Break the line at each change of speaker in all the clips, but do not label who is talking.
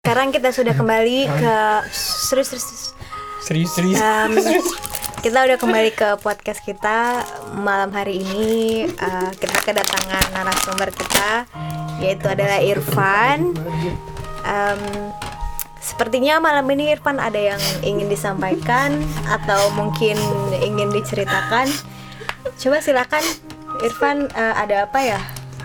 Sekarang kita sudah kembali ke serius, serius, serius.
Serius, serius.
Em, kita udah kembali ke podcast kita malam hari ini eh, kita kedatangan narasumber kita yaitu adalah Irfan. Em, sepertinya malam ini Irfan ada yang ingin disampaikan atau mungkin ingin diceritakan. Coba silakan Irfan eh, ada apa ya?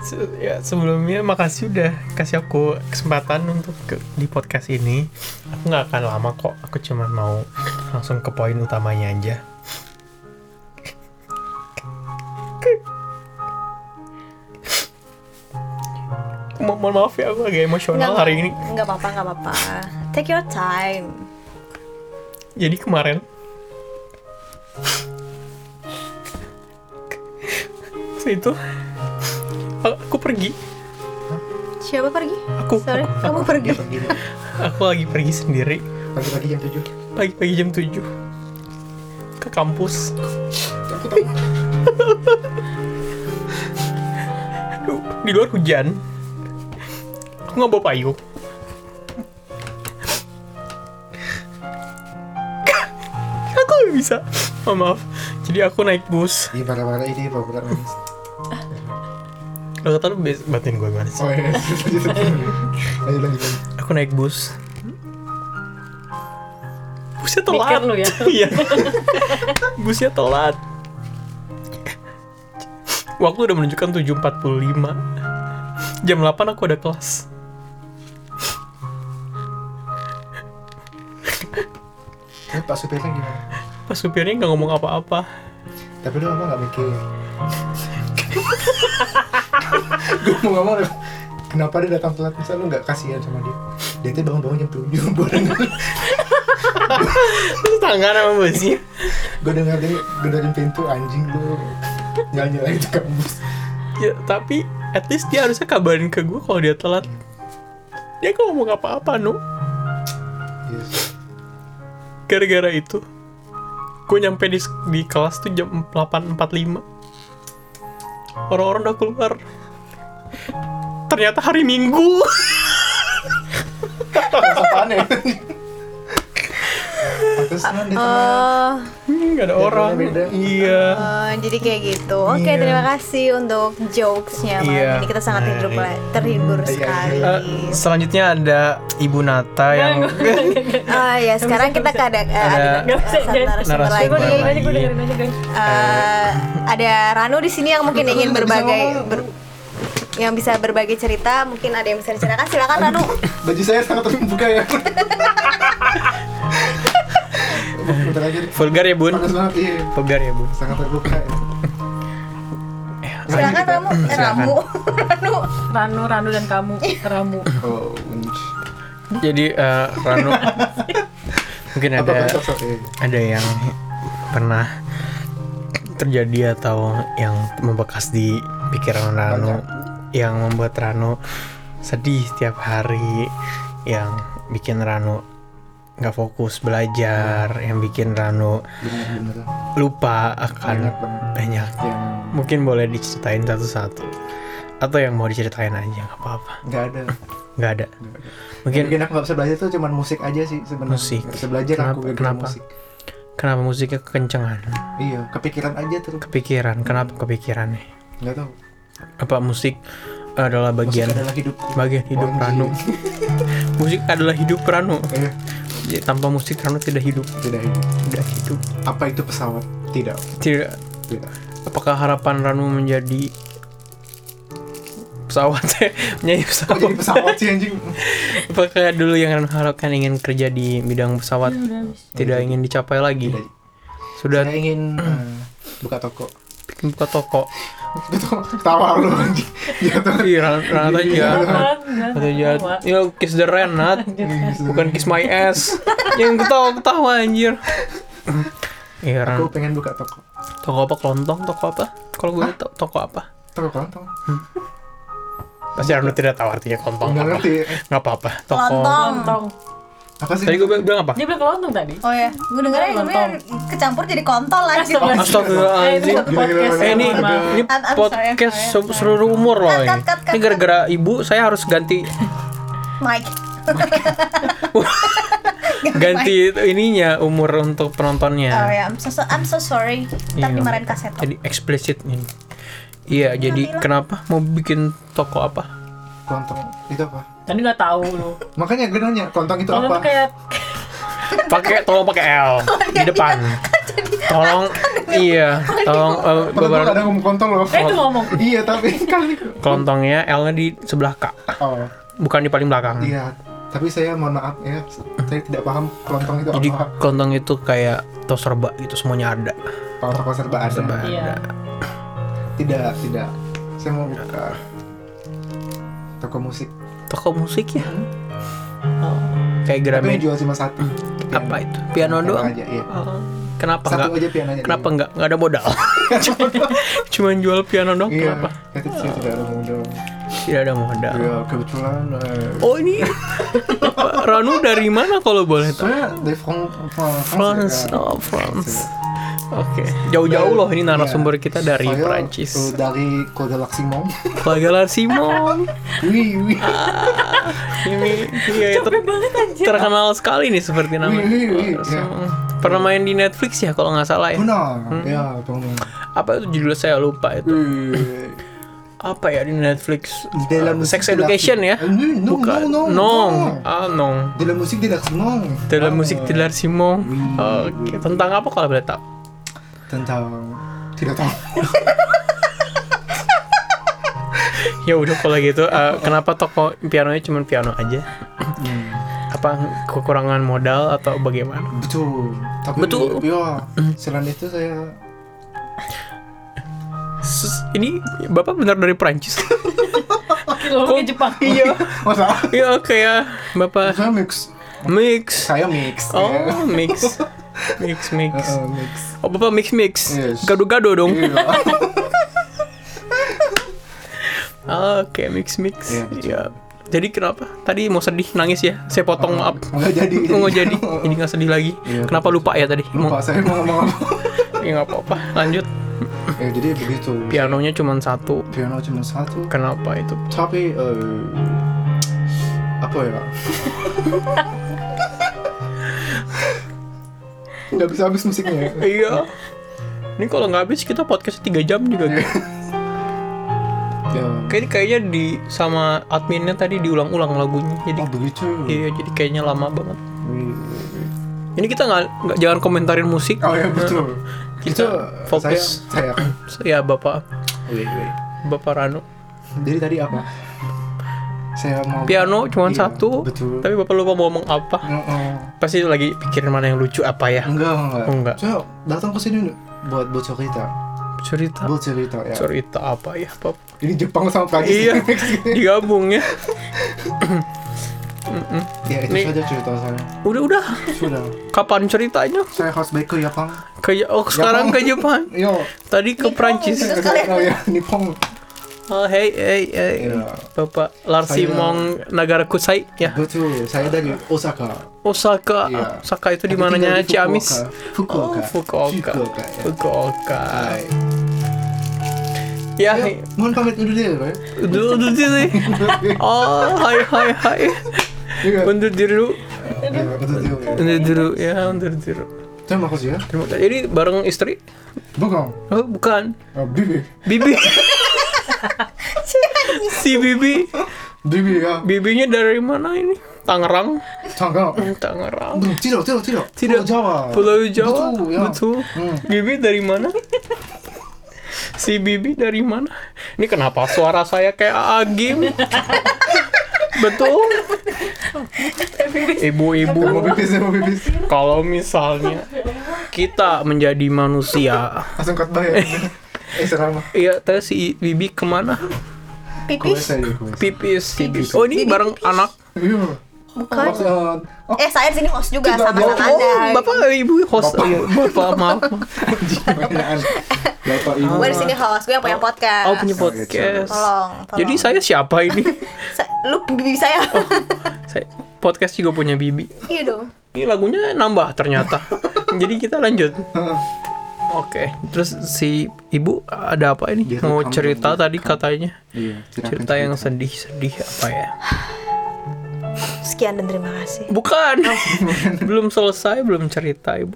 Se- ya, sebelumnya makasih udah kasih aku kesempatan untuk ke- di podcast ini. Aku nggak akan lama kok. Aku cuma mau langsung ke poin utamanya aja. Mo- mohon maaf ya, aku agak emosional
Nggak-
hari ini.
Nggak apa-apa, nggak apa-apa. Take your time.
Jadi kemarin Waktu itu a- aku pergi
Siapa pergi?
Aku.
Sorry,
Aku.
kamu pergi.
Dia sendiri
aku lagi pergi sendiri
pagi-pagi jam 7
pagi-pagi jam 7 ke kampus
aku tahu
Aduh, di luar hujan aku nggak bawa payung aku nggak bisa oh, maaf jadi aku naik bus
di mana-mana ini benar-benar nangis
lo kata lu bes- batin gue gimana sih
oh iya lanjut lanjut lanjut lanjut.
aku naik bus busnya
Mikir
telat
lu ya.
iya busnya telat waktu udah menunjukkan 7.45 jam 8 aku ada kelas
Tapi Kan pak supirnya gimana
pas supirnya nggak ngomong apa-apa
tapi lu ngomong gak mikir gue mau ngomong udah, kenapa dia datang telat masa lu gak kasihan sama dia dia tuh bangun-bangun jam 7 gue dengar
terus tangan sama busnya
gue dengar dia gedokin pintu anjing lu nyala-nyalain di kampus
ya, tapi at least dia harusnya kabarin ke gue kalau dia telat dia nggak ngomong apa-apa nu
Yes.
gara-gara itu gue nyampe di, di kelas tuh jam 8.45 orang-orang udah keluar ternyata hari minggu
apaan ya Pantes lu di teman
Oh,
Hmm, nggak ada orang
beda.
iya
oh, jadi kayak gitu. Oke,
Iya.
terima kasih untuk jokesnya malam
Iya.
ini kita sangat terhibur,
Nah,
terhibur
iya.
sekali.
Eh, selanjutnya ada ibu Nata yang
Oh ya, sekarang kita ada ada
Nggak
bisa,
satu
jangan.
narasumber
Narasumber.
lagi.
gue dengerin aja, gue dengerin aja guys
Eh, ada Ranu di sini yang mungkin ingin
nggak bisa
berbagai
ngomong.
ber- yang bisa berbagi cerita, mungkin ada yang bisa diceritakan. Silakan Ranu.
baju saya sangat terbuka ya bentar lagi
vulgar ya bun
panas banget iya
vulgar ya bun
sangat terbuka ya.
Silakan Ramu. Eh, Ramu. Ranu.
Ranu, Ranu dan kamu Ramu
oh unj.
jadi eh, Rano mungkin
apa Iya,
ada
konsep saya
ada yang pernah terjadi atau yang membekas di pikiran Rano yang membuat Rano sedih tiap hari yang bikin Rano nggak fokus belajar yang bikin Rano
benar-benar
lupa
banyak
akan
banget
banyak
yang
mungkin boleh diceritain satu-satu atau yang mau diceritain aja nggak apa-apa
nggak ada
nggak ada
mungkin,
mungkin
aku nggak bisa belajar tuh cuman musik aja sih sebenarnya
Musik.
nggak bisa belajar
Kenapa-
aku gara-gara
kenapa?
musik
kenapa musiknya kekencengan
iya kepikiran aja terus
kepikiran kenapa kepikiran nih
nggak tahu
apa musik adalah
musik
bagian
adalah hidupku
bagian hidup
Onji.
Rano musik adalah hidup Rano
iya
Jadi, tanpa musik Rano tidak hidup
tidak hidup
tidak hidup
apa itu pesawat tidak
tidak
tidak
apakah harapan Rano menjadi pesawat menjadi
kok jadi
pesawat
pesawat sih anjing
apakah dulu yang Rano harapkan ingin kerja di bidang pesawat tidak ingin dicapai lagi
Tidak.
sudah
saya ingin eh, buka toko
bikin buka toko Iya,
tawa lu anjing jatuh
Ih, Ran- Ranata
Iya.
jahat Ranata jahat
Tawa.
you know, ya. kiss the Ren Nat bukan kiss my ass yang ketawa ketawa anjir Iya, Ran.
aku pengen buka toko
Toko apa kelontong? Toko apa? Kalau gue to- toko apa?
toko kelontong
Pasti Arno tidak tahu artinya kelontong
nggak
apa.
ngerti
Nggak apa-apa. Toko.
Kelontong.
Lontong
apa sih
Tadi gue bilang, bilang apa?
Dia bilang lontong tadi
Oh ya, gue dengernya
Kelontong.
kemudian kecampur jadi kontol gitu. lagi.
Astagfirullah. Eh, ini
Astagfirullahaladzim.
satu podcast
Eh, ini,
mohon maaf.
ini
I'm- I'm sorry,
podcast
I'm sorry,
se-
I'm sorry.
seluruh umur loh.
Cut, cut, cut,
Ini
cut.
gara-gara ibu saya harus ganti
Mike.
Ganti itu ininya umur untuk penontonnya.
Oh ya, I'm so, so- I'm so sorry. Ntar
Iya.
dimarahin kaset.
Jadi eksplisit ini. Iya, jadi
bilang.
kenapa mau bikin toko apa?
Kelontong itu apa?
Tadi nggak tahu lu.
Makanya gue nanya kelontong itu
Kalau
apa?
tuh kayak
Kan
Pakai tolong pakai L
Oh, iya,
di depan. Tolong
Kan
iya, tolong eh,
Padahal gue kadang
beberapa
ngomong kelontong loh.
eh itu ngomong.
iya tapi kali
kelontongnya L-nya di sebelah K,
Oh
bukan di paling belakang.
iya. Tapi saya mohon maaf ya, saya tidak paham kelontong itu
Jadi
apa.
kelontong itu kayak tos serba gitu semuanya ada.
Kalau toko serba ada.
Serba ada.
Iya.
Tidak, tidak. Saya mau buka toko musik.
Toko musik ya.
Oh.
Kayak
Hmm. Tapi yang
Gramedia
jual cuma satu.
apa itu? Piano doang.
aja, iya.
Oh, Kenapa
Satu
enggak?
aja pianonya.
Kenapa enggak? Enggak ada modal. Cuman jual piano doang
Iya.
kenapa?
Itu sih tidak ada modal.
Tidak ada modal.
Ya kebetulan. eh,
Oh ini Pak Ranu dari mana kalau boleh tahu?
Saya dari Fran- Fran-
France,
ya, Kak.
oh France.
Saya-
Oke, jauh-jauh loh ini
Iya.
narasumber kita dari
Saya, eh,
Perancis.
Dari Kota Laksimong.
Lagalar Simon,
Wih, wih,
ini iya, ter- terkenal sekali nih seperti nama.
Wih, wih, wih, iya.
Pernah main di Netflix ya kalau nggak salah ya.
benar. Ya, benar.
Apa itu judulnya saya lupa itu.
Eh,
Apa ya di Netflix?
Di dalam
Uh, Sex
musik
Education ya?
tidak- Eh, no,
Bukan.
no, no,
no.
no.
Ah, no.
Dalam musik tidak senang.
Dalam musik
Ah,
Dilar Simon.
Wih,
Oke,
wih.
tentang apa kalau boleh tahu?
Eh, Tentang tidak tahu.
Ya udah kalau gitu eh, kenapa toko pianonya cuma piano aja?
Hmm.
Apa kekurangan modal atau bagaimana?
Betul. Tapi
Betul. Hmm.
Ya, selain itu saya
Sus, ini Bapak benar dari Perancis.
Kalau kayak Jepang.
iya.
Masa?
Iya oke ya. Bapak
Saya mix.
mix.
Saya mix. ya.
Oh, mix. Mix mix.
Eh, mix.
Oh, Bapak mix mix.
Yes.
Gado-gado dong.
Iya.
Oke, mix mix.
Iya, betul.
Iya. Jadi kenapa? Tadi mau sedih nangis ya? Saya potong maaf.
Nggak jadi.
Nggak jadi. Jadi nggak sedih lagi.
Oh. Iya,
kenapa lupa ya tadi?
Lupa saya mau ngomong apa.
Mau- Ya nggak apa-apa. Lanjut.
Eh, jadi begitu.
Pianonya cuma satu.
Piano cuma satu.
Kenapa itu?
Tapi eh, apa ya? Nggak bisa habis musiknya. ya?
Iya. Ini kalau nggak habis kita podcast 3 jam juga.
Iya. ya.
Kayaknya kayaknya di sama adminnya tadi diulang-ulang lagunya. Jadi
Oh begitu.
iya jadi kayaknya lama banget.
Wih, wih, wih.
Ini kita nggak nggak jangan komentarin musik.
Oh ya betul.
Kita fokus.
Fokus. Saya,
Ya
saya.
Bapak
Wih, wih.
Bapak Rano.
Jadi tadi apa? Saya mau
Piano cuma
Iya,
satu.
Betul.
Tapi Bapak lupa mau ngomong apa.
Oh, oh.
Pasti lagi pikirin mana yang lucu apa ya.
Enggak, enggak.
Enggak.
Saya datang ke sini buat buat cerita.
Cerita.
Buat cerita ya.
Cerita apa ya, Pap?
Ini Jepang sama Prancis
Iya.
mix gitu.
Digabung ya.
Ya itu
Nih.
saja cerita saya.
Udah-udah.
Sudah.
Kapan ceritanya?
Saya harus balik ke Jepang.
Kayak oh sekarang ke Jepang.
Yo.
Tadi ke
Jepang.
Prancis.
Terus kalian-
Oh ya, Nippon.
Oh, hey, hey, hey.
Iya.
Bapak Larsimong Nagara Kusai ya.
Betul. Saya dari Osaka.
Osaka.
Iya.
Osaka itu di
Tapi
mananya
tinggal di
Ciamis.
Fukuoka.
Oh, Fukuoka.
Fukuoka, ya.
Fukuoka.
Hai.
Ya,
Ya, mohon pamit undur diri, Pak.
dulu dulu sini. Oh, hai hai hai.
Iya.
Undur diri dulu.
Ya, undur diri.
Undur diri ya, undur diri.
Terima kasih ya.
Terima kasih. Ini bareng istri?
Bukan.
Oh, bukan.
Oh, Bibi.
Bibi. si Bibi.
Bibi ya.
Bibinya dari mana ini? Tangerang.
Tanggal.
음. Tangerang.
Belum, tidak, tidak, tidak.
Tidak.
Pulau Jawa.
Pulau Jawa,
Betul,
betul.
ya. Hmm.
Bibi dari mana? si Bibi dari mana? Ini kenapa suara saya kayak Agim? betul.
Mau
Ibu-ibu,
pipis, mau pipis.
kalau misalnya kita menjadi manusia,
Langsung khotbah ya. Eh, serama.
iya, teh si Bibi kemana?
Kuis
Pipis.
saya, kuis.
Pipis. Si Bibi. Oh ini bareng anak.
Iya.
Bukan.
Host, uh, oh,
Eh, saya di sini host juga
Tidak,
sama-sama
bohong.
Oh,
Anda.
Bapak ibu host,
Bapak.
Iya, bapak maaf.
pertanyaan. Bapak Ibu.
Gue di sini host, gue yang punya podcast.
Oh punya podcast.
Tolong, tolong.
Jadi saya siapa ini?
Sa- lu bibi saya.
Oh. Saya podcast juga punya Bibi.
iya dong.
Ini lagunya nambah ternyata. Jadi kita lanjut. Oke, terus si ibu ada apa ini?
Dia
Mau
rekam
cerita
dong, dia
tadi katanya
Iya, silakan
cerita yang sedih-sedih apa ya?
sekian dan terima kasih.
Bukan.
Oh,
belum selesai, belum cerita, Ibu.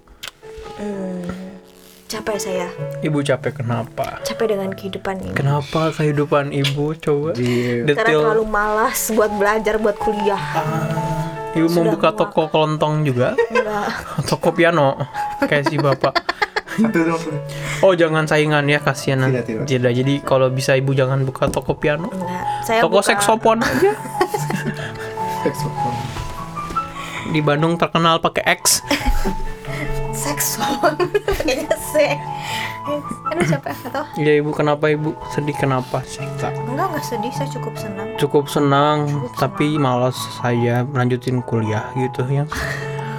Capek saya,
Ibu capek kenapa?
capek dengan kehidupan ini.
Kenapa kehidupan Ibu coba?
Di-
Karena
Detail.
terlalu malas buat belajar, buat kuliah.
Ibu mau
sudah
buka
muak.
toko kelontong juga?
Enggak.
toko piano kayak si Bapak.
Satu dong.
Oh, jangan saingan ya, kasihan
Tidak,
nanti. Tidak.
tidak.
Jadi kalau bisa Ibu jangan buka toko piano.
Enggak. Saya Ya,
Toko
buka-
seksopon aja.
Saksofon.
Di Bandung terkenal pakai X.
Sekson. Kayaknya sek. Iya Aduh capek atau?
Ya Ibu, kenapa Ibu sedih kenapa? Cerita.
Enggak, enggak sedih, saya cukup senang.
cukup senang tapi malas saya melanjutin kuliah gitu yang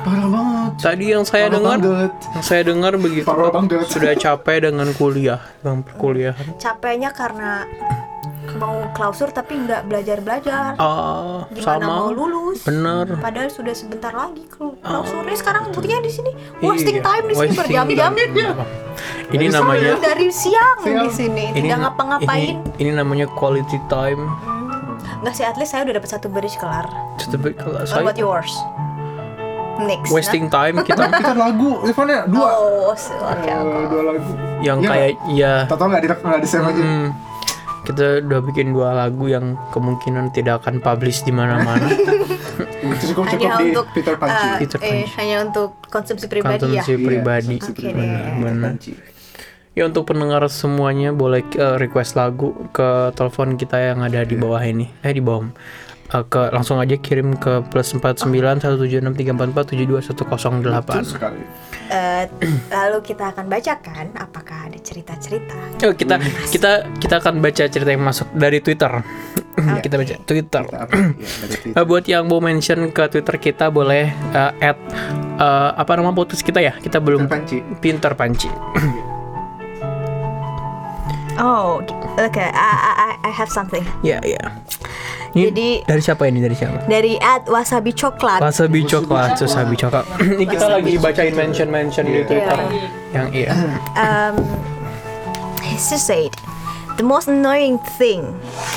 Parah banget.
tadi yang saya
Parah
Ya, dengar
banget.
yang saya dengar begitu
Parah banget.
sudah capek dengan kuliah dengan perkuliahan
Capeknya karena mau klausur tapi nggak belajar-belajar.
ah
Gimana mau
sama
lulus?
bener
Padahal sudah sebentar lagi kalau klausurnya sekarang buktinya di sini
Iya. Wasting
Ah. Iya. wasting time di sini berjam-jam.
ini
Dari
namanya
dari siang
Siang.
di sini tidak ngapa-ngapain.
ini, ini namanya quality time
Enggak sih, at least saya udah dapat satu beris kelar.
Just a bit kalau
What about
saya
yours? Next.
wasting time kita
Kita lagu,
nah?
Irfannya dua.
Oh, so- oke.
Eh, dua lagu.
yang
Iya
kayak ya
Tahu nggak di nggak di save aja.
Hmm, kita udah bikin dua lagu yang kemungkinan tidak akan publish di mana-mana
Cukup cukup
Hanya
di
untuk
Peter Panci.
eh,
Peter
eh,
Panci.
hanya untuk konsumsi pribadi ya.
konsumsi
Iya,
pribadi
konsumsi
Oke iya.
pribadi.
deh.
benar
Panci.
ya untuk pendengar semuanya boleh eh, request lagu ke telepon kita yang ada
Iya.
di bawah ini eh di bawah Eh, ke langsung aja kirim ke plus empat sembilan satu tujuh enam tiga empat empat tujuh dua satu nol delapan
Betul sekali.
Eh, lalu kita akan bacakan apakah ada cerita-cerita.
Oh, kita
Hmm.
kita kita akan baca cerita yang masuk dari Twitter. kita baca Twitter.
Hmm. Kita apa? Iya, dari Peter.
Eh, buat yang mau mention ke Twitter kita boleh eh, add eh, apa nama podcast kita ya? Kita
Peter
belum
Panci.
pinter panci.
Oh, oke. I, I, I have something.
Ya, ya. Ini
Jadi-
dari siapa ini? Dari siapa?
Dari at wasabi coklat.
Wasabi coklat, wasabi coklat. Ini kita lagi bacain mention-mention di
Iya.
Twitter. Yang iya.
She said, the most annoying thing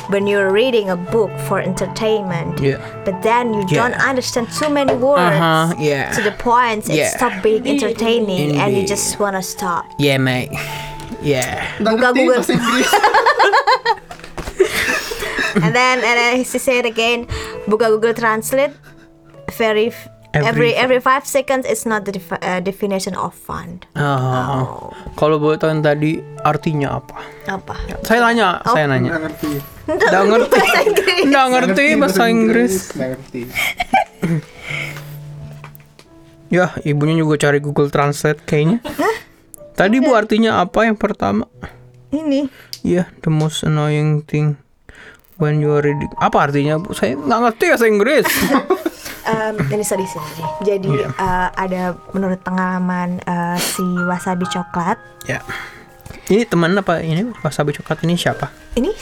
when you're reading a book for entertainment,
Yeah.
but then you don't
Yeah.
understand too many words
Uh-huh, yeah.
to the point it
Yeah.
stop being entertaining and you
Indeed.
just wanna stop.
Yeah, mate. Yeah.
Nggak
Buka
ngerti
Google.
bahasa Inggris.
and then and then she said again, buka Google Translate. Very f-
Every-
every every five seconds is not the defi- uh, definition of fun.
Oh. Kalau buat tahun tadi artinya apa?
Oh, Apa?
Saya nanya, saya
Nggak
nanya.
ngerti.
Nggak ngerti.
Bahasa Inggris.
Nggak
Nggak
ngerti bahasa Inggris.
Nggak ngerti.
Ya, ibunya juga cari Google Translate kayaknya. Tadi bu artinya apa yang pertama?
Ini
Ya, the most annoying thing when you are reading. Apa artinya bu? Saya nggak ngerti bahasa Inggris.
um, ini sedih sih. Jadi uh, ada menurut pengalaman uh, si wasabi coklat
ya. Ini teman apa ini wasabi coklat ini siapa?
ini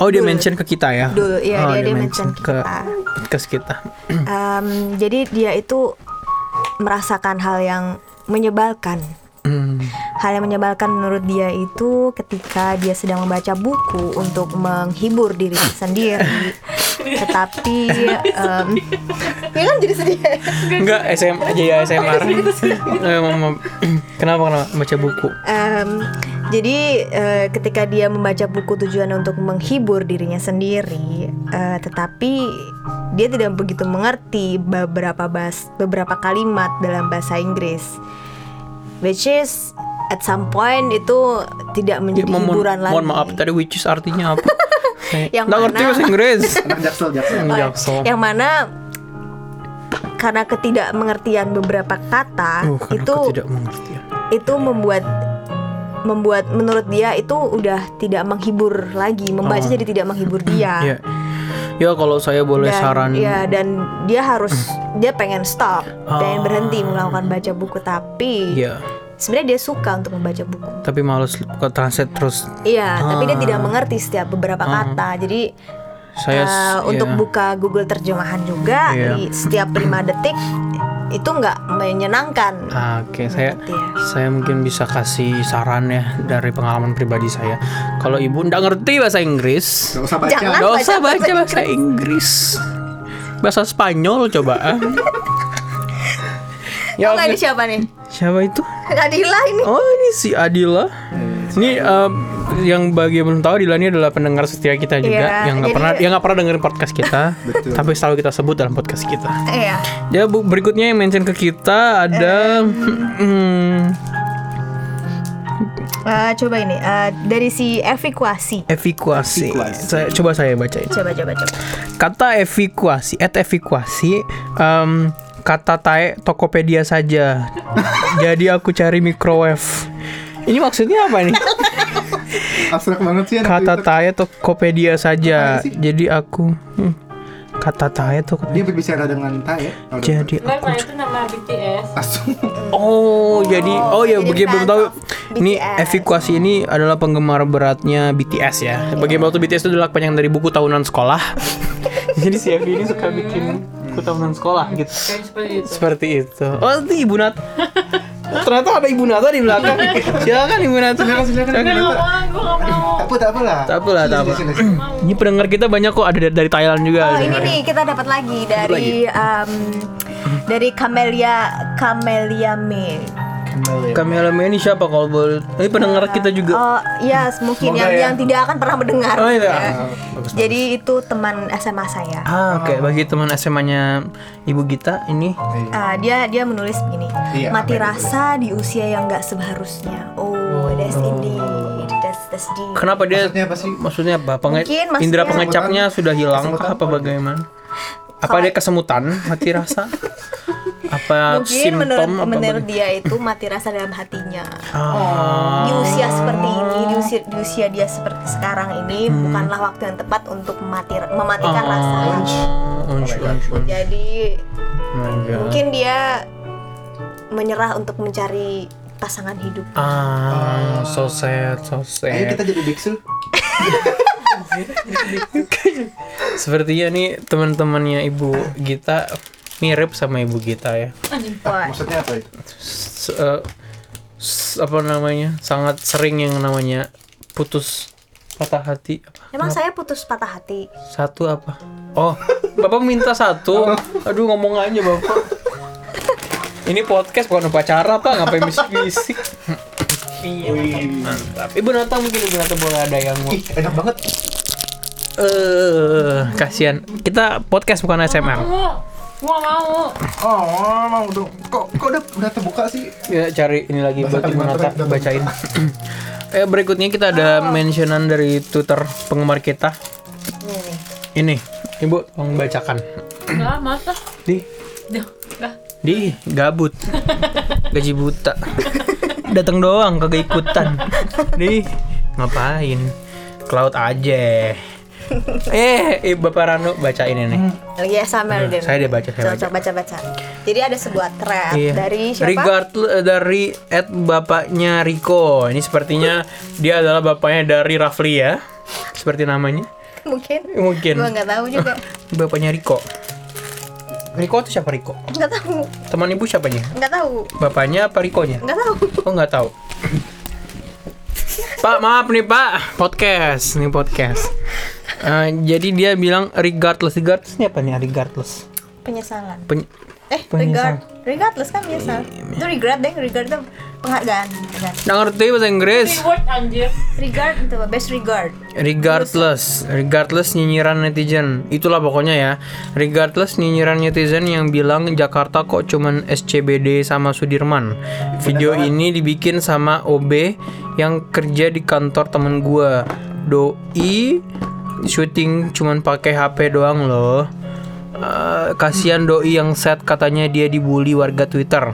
Oh dia
Dul.
mention ke kita ya?
Dul, iya,
Oh,
dia- dia mention
ke
kita.
podcast kita.
um, jadi dia itu merasakan hal yang menyebalkan.
Hmm,
Hal yang menyebalkan menurut dia itu ketika dia sedang membaca buku untuk menghibur diri sendiri. Tetapi um, ya kan jadi sedih.
Enggak SM aja ya SMR. Eh, mama- kenapa kenapa baca buku?
Em, jadi eh, ketika dia membaca buku tujuan untuk menghibur dirinya sendiri, eh, tetapi dia tidak begitu mengerti beberapa bahas, beberapa kalimat dalam bahasa Inggris, which is at some point itu tidak
Ya,
menjadi
mohon,
hiburan lagi.
mohon maaf tadi which is artinya apa? Saya
Yang
nggak ngerti
mana?
bahasa Inggris.
Anak jaksel jaksel.
Oh,
Jaksel.
Yang mana karena ketidakmengertian beberapa kata
Uh, karena
itu
aku tidak mengerti. ya.
itu membuat membuat menurut dia itu udah tidak menghibur lagi membaca
Oh.
jadi tidak menghibur dia
Ya. Ya kalau saya boleh
Ah. dan
saran
ya dan dia harus dia pengen stop
Ah.
dan berhenti melakukan baca buku tapi
Iya.
sebenarnya dia suka untuk membaca buku
tapi males ke translate terus
iya tapi dia
Ah.
tidak mengerti setiap beberapa kata jadi
saya s-
eh, untuk
ya.
buka Google terjemahan juga
Iya.
di setiap lima detik itu nggak menyenangkan
Ah, Oke, saya
Ngerti ya.
saya mungkin bisa kasih saran ya dari pengalaman pribadi saya. Kalau ibu nggak ngerti bahasa Inggris,
Nggak usah baca.
Jangan.
nggak
baca
usah baca
bahasa
bahasa Inggris. bahasa Spanyol coba ah.
Tau
ya
nggak ini
oke.
siapa nih?
siapa itu
Adila ini.
oh ini si Adila ini eh, yang bagi yang belum tahu Adila ini adalah pendengar setia kita juga
Iya,
yang nggak
jadi-
pernah yang nggak pernah dengerin podcast kita
Betul.
tapi selalu kita sebut dalam podcast kita
Iya.
Ya bu, berikutnya yang mention ke kita ada hmm,
Eh, coba ini eh, dari si Evikuasi.
evikuasi.
Evikuasi.
Saya, coba saya bacain.
Coba coba coba.
Kata evikuasi, at evikuasi, em, kata tae Tokopedia saja. Jadi aku cari microwave. Ini maksudnya apa nih?
Abstrak banget sih anak
Kata
Twitter.
tae Tokopedia saja.
Apaan sih?
Jadi aku hmm, kata tae Tokopedia.
Dia berbicara dengan Tay ya? Oh,
Jadi
Enggak,
aku
nah itu nama BTS.
langsung
Oh, jadi oh ya
jadi
bagi yang belum
fans
tahu
of
ini
BTS.
Evikuasi ini adalah penggemar beratnya BTS ya.
Iya.
Bagi yang belum tahu BTS itu adalah kepanjangan dari buku tahunan sekolah. jadi si Evi ini suka bikin buku tahunan sekolah gitu.
Kayak seperti itu.
Seperti itu. Oh, itu Ibu Nat. Ternyata ada Ibu Nata di belakang. Silakan Ibu Nata.
Silakan, silakan, Ibu Nata.
Gue nggak mau, gue nggak mau.
Tak apa, tak apa lah
Tak apa lah, tak apa.
Sini, sini, sini.
Ini pendengar kita banyak kok ada dari Thailand juga.
Oh
ada
ini
dari-
nih kita dapat lagi dari em, dari Camelia Camelia May.
Kembali.
Kamila Mei ini siapa kalau boleh? Ini pendengar kita juga.
Oh yes mungkin
Semoga
yang
ya.
yang tidak akan pernah mendengar.
Oh, iya.
Ya.
Bagus,
Jadi itu teman SMA saya.
Ah, oke. Bagi teman SMA-nya Ibu Gita ini
Iya.
Ah, dia dia menulis begini
Iya,
mati
apa itu?
rasa di usia yang nggak seharusnya oh that's indeed that's that's deep
Kenapa dia
Maksudnya apa sih?
Maksudnya apa? Penge-
Mungkin maksudnya-
indera pengecapnya sudah hilang
Kesemutan.
kah? apa bagaimana? Apa dia kesemutan hati rasa? apa
mungkin
simptom
menurut
apa
menurut
baga-
dia itu mati rasa dalam hatinya
Ah.
di usia seperti ini di usia di usia dia seperti sekarang ini
Hmm.
bukanlah waktu yang tepat untuk memati, mematikan rasa
Oh
Ah, unsu, unsu.
jadi
My God.
mungkin dia menyerah untuk mencari pasangan hidup
Ah, so sad, so
Ayo kita
sad.
jadi biksu
Sepertinya nih teman-temannya Ibu Gita mirip sama Ibu Gita ya.
Wah,
Maksudnya apa itu?
S- eh, s- apa namanya? Sangat sering yang namanya putus patah hati apa?
emang saya putus patah hati
Satu apa? Oh, Bapak minta satu. Aduh, ngomong aja Bapak. Ini podcast bukan upacara, Pak. Ngapain bisik-bisik? Iya. Mantap. Ibu Nata mungkin Ibu Nata boleh ada yang mau.
Ih, enak banget
Eh, kasihan. Kita podcast bukan
Nggak
SMR.
mau. Gue nggak mau.
Oh, mau dong Kok, kok udah, udah terbuka sih?
Ya, cari ini lagi buat Ibu
Bahasa kalimat
Nata
terakhir.
bacain. eh, berikutnya kita ada mentionan dari Twitter penggemar kita.
ini nih
Ini, Ibu tolong bacakan.
Nggak, masa.
Di
Duh, dah.
Di gabut. Gaji buta. Datang doang kagak ikutan. Di ngapain? Ke laut aja. Eh, eh, Bapak Rano bacain ini.
Oh iya Samuel
Aduh,
Demi.
saya dia baca, saya
Cocok, baca. baca Jadi ada sebuah thread dari siapa?
Iya. Regard eh, dari at bapaknya Riko. Ini sepertinya dia adalah bapaknya dari Rafli ya. Seperti namanya.
Mungkin.
Mungkin.
Gua nggak tahu juga.
Bapaknya Riko. Riko itu siapa Riko?
Nggak tahu.
Teman ibu siapanya?
Nggak tahu.
Bapaknya apa Rikonya?
Nggak tahu.
Oh nggak tahu. Pak maaf nih Pak, podcast nih podcast. Eh, jadi dia bilang regardless, regardless ini apa nih regardless?
Penyesalan.
Peny-
Eh, regard. Regardless kan biasa.
Iya,
Itu regret deh, regard itu penghargaan. Regard.
Nggak ngerti bahasa Inggris.
Reward anjir.
Regard itu apa? best regard.
Regardless, regardless nyinyiran netizen. Itulah pokoknya ya. Regardless nyinyiran netizen yang bilang Jakarta kok cuman SCBD sama Sudirman. Video ini dibikin sama OB yang kerja di kantor temen gua. Doi syuting cuman pakai HP doang loh. Eh, kasihan doi yang set katanya dia dibully warga Twitter.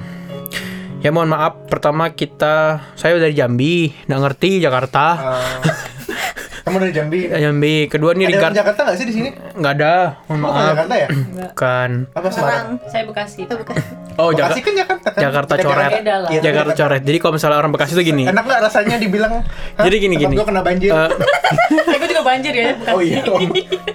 Ya mohon maaf, pertama kita saya dari Jambi, nggak ngerti Jakarta.
Eh, Kamu dari Jambi
Ya, Jambi. Kedua nih
Ada
Ricard
orang Jakarta nggak sih di sini?
nggak ada. Mohon
Oh,
maaf.
Jakarta ya?
Bukan.
Apa Semarang?
Saya Bekasi.
Itu bukan.
Oh, Jaka-
Bekasi kan Jakarta kan?
Jakarta
Kita
coret.
Beda lah.
Iya,
Jakarta coret. Jadi kalau misalnya orang Bekasi tuh gini.
Enak nggak rasanya dibilang? "Hah,
Jadi gini,
tempat
gini.
Gua kena banjir.
Eh,
Eh, gue juga banjir ya. Bekasi.
oh iya.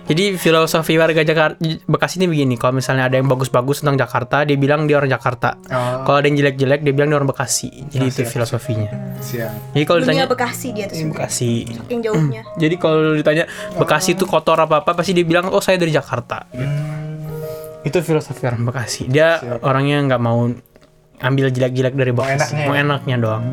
jadi filosofi warga Jakarta Bekasi ini begini. Kalau misalnya ada yang bagus-bagus tentang Jakarta, dia bilang dia orang Jakarta.
Oh. Iya,
Kalau ada yang jelek-jelek, dia bilang dia orang Bekasi. Jadi itu
siap.
filosofinya.
Siang.
Jadi kalau Iya.
Dunia
ditanya
Bekasi dia tuh sebenarnya.
Bekasi.
Yang jauhnya.
"Oh, Jadi kalau ditanya Bekasi itu kotor apa apa, pasti dia bilang oh saya dari Jakarta. Gitu.
Hmm.
itu filosofi orang Bekasi dia
Siap.
orangnya nggak mau ambil jilat-jilat dari Bekasi
enaknya
mau
ya?
enaknya doang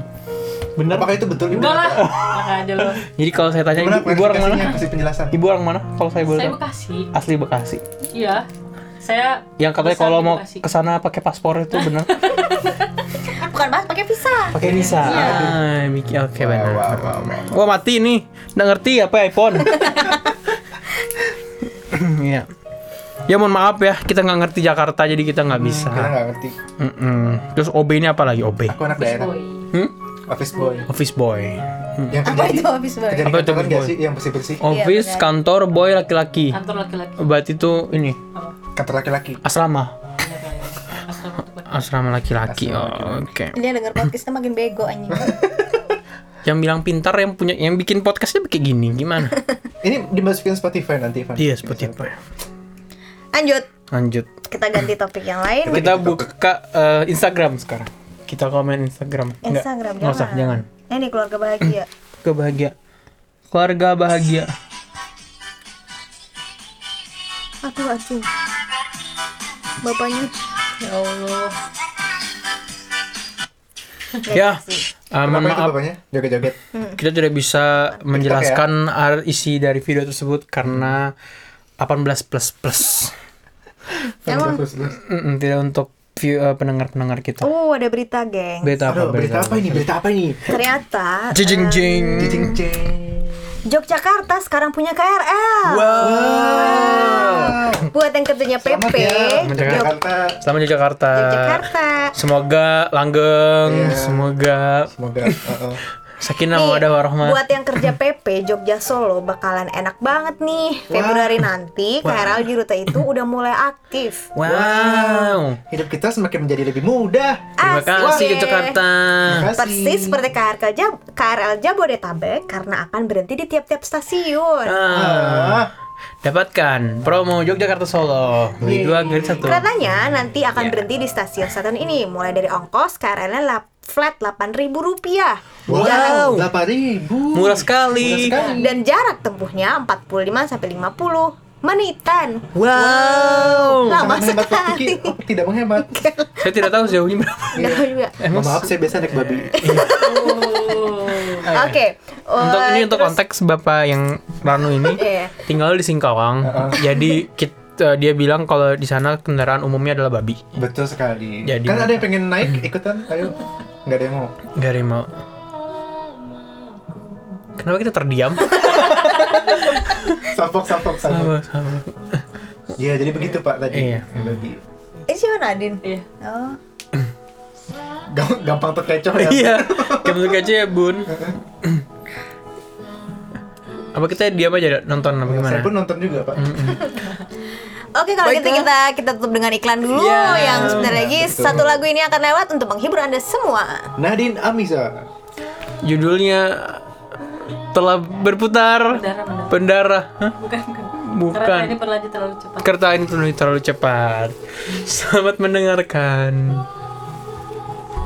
bener
Apakah itu betul? Ibu?
Enggak lah. Enggak ada loh.
jadi kalau saya tanya
Gimana
ibu, ibu orang mana
klarifikasinya? Kasih penjelasan.
ibu orang mana kalau saya boleh
Saya
tahu?
Bekasi.
asli Bekasi
Iya. Saya gitu
yang katanya
besar
kalau
di
mau
Bekasi.
kesana pakai paspor itu bener
Eh, bukan banget pakai visa
pakai visa
Iya.
Ah, Miki- oke
Wow,
benar
wow, wow, wow.
Wah mati nih, nggak ngerti apa ya, iPhone. Iya. Ya mohon maaf ya, kita nggak ngerti Jakarta jadi kita nggak bisa.
Karena Hmm, nggak ngerti.
Mm-mm. Terus OB ini apa lagi OB?
Aku anak
Fish
daerah.
boy.
Hmm?
Office boy.
Office boy.
Yang
apa itu
Iya.
habis
Kerja
banget
di
Hmm. Apa itu
kantoran
office
nggak
boy? Oh.
sih? Yang bersih-bersih.
Office
benar.
kantor boy laki-laki.
Kantor laki-laki.
Berarti itu ini
Apa?
Kantor laki-laki.
asrama,
Banyak lah ya. Astro-
asrama laki-laki.
Asrama
Oh, Oke.
dia denger podcastnya makin bego anjing
Yang bilang pintar yang punya yang bikin podcastnya kayak gini gimana?
Ini dimasukin Spotify nanti, Ivan.
Iya Spotify.
lanjut
Lanjut.
kita ganti topik yang lain
Kita buka eh, Instagram sekarang. Kita komen Instagram. Nggak-
Instagram
nggak usah, jangan.
ini keluarga bahagia
kebahagia keluarga bahagia
aduh anjing bapaknya
Ya Allah.
ya eh, mohon
Kenapa itu
maaf
bapaknya? Joget-joget.
Hmm. kita tidak bisa
ya?
menjelaskan ar- isi dari video tersebut karena 18 plus plus
Emang-
Terus, terus.
Mm-mm, tidak untuk view pendengar pendengar kita
oh ada berita geng
beta apa
Aduh, berita apa ini? Berita apa ini?
ternyata
jing jing
Cicing ceng.
Yogyakarta sekarang punya KRL
wow
buat yang kerjanya PP
ya,
Menjaga-
Jog-
Jakarta.
selamat di Jakarta
Yogyakarta
semoga langgeng
Iya.
semoga
Semoga. uh-uh.
sakinah
Nih,
mawaddah warahmah
Buat yang kerja PP Jogja Solo bakalan enak banget nih. Februari nanti KRL di rute itu udah mulai aktif.
wow
Hidup kita semakin menjadi lebih mudah.
terima
Asik
kasih
deh.
Jakarta
Terima kasih.
Persis seperti KRL, Jab KRL Jabodetabek karena akan berhenti di tiap-tiap stasiun.
Ah.
Ah.
Dapatkan promo Yogyakarta Solo beli dua gratis satu.
Keretanya nanti
Ya.
akan berhenti di stasiun stasiun ini mulai dari ongkos KRL-nya la- flat 8.000 rupiah.
Wow.
Wow, delapan ribu.
Murah sekali.
Hmm. Dan jarak tempuhnya 45 sampai 50 menitan.
Wow.
Lama
Sangat menghemat waktu, Ki.
sekali.
Oh, tidak menghemat.
Saya tidak tahu sejauh ini berapa.
Iya.
Nggak tahu juga.
Emang
Maaf, saya biasa naik babi.
Oh.
Oke.
untuk ini
eh,
untuk
terus-
konteks bapak yang Ranu ini
Iya.
tinggal di Singkawang. Jadi kita, dia bilang kalau di sana kendaraan umumnya adalah babi.
Betul sekali.
Jadi- Hmm.
kan ada yang pengen naik ikutan, ayo. Nggak ada yang mau.
Gak ada yang mau. Kenapa kita terdiam?
Sapok, sapok,
Sabar,
sapok.
sabar.
Iya, jadi begitu Pak tadi.
Iya.
Babi.
Ini eh, siapa Nadine?
Iya.
Oh.
Gam- Gampang terkecoh ya.
Iya. Kamu aja ya bun. apa kita diam aja nonton apa gimana?
Saya pun nonton juga Pak.
Oke kalau gitu kita kita tutup dengan iklan dulu
Iya.
yang sebentar lagi
betul.
satu lagu ini akan lewat untuk menghibur anda semua.
Nadine Amisa.
judulnya telah berputar
Berdarah, berdarah.
pendarah Hah?
Bukan, bukan.
Bukan.
Karena ini berlanjut terlalu cepat.
kereta ini terlalu, terlalu cepat selamat mendengarkan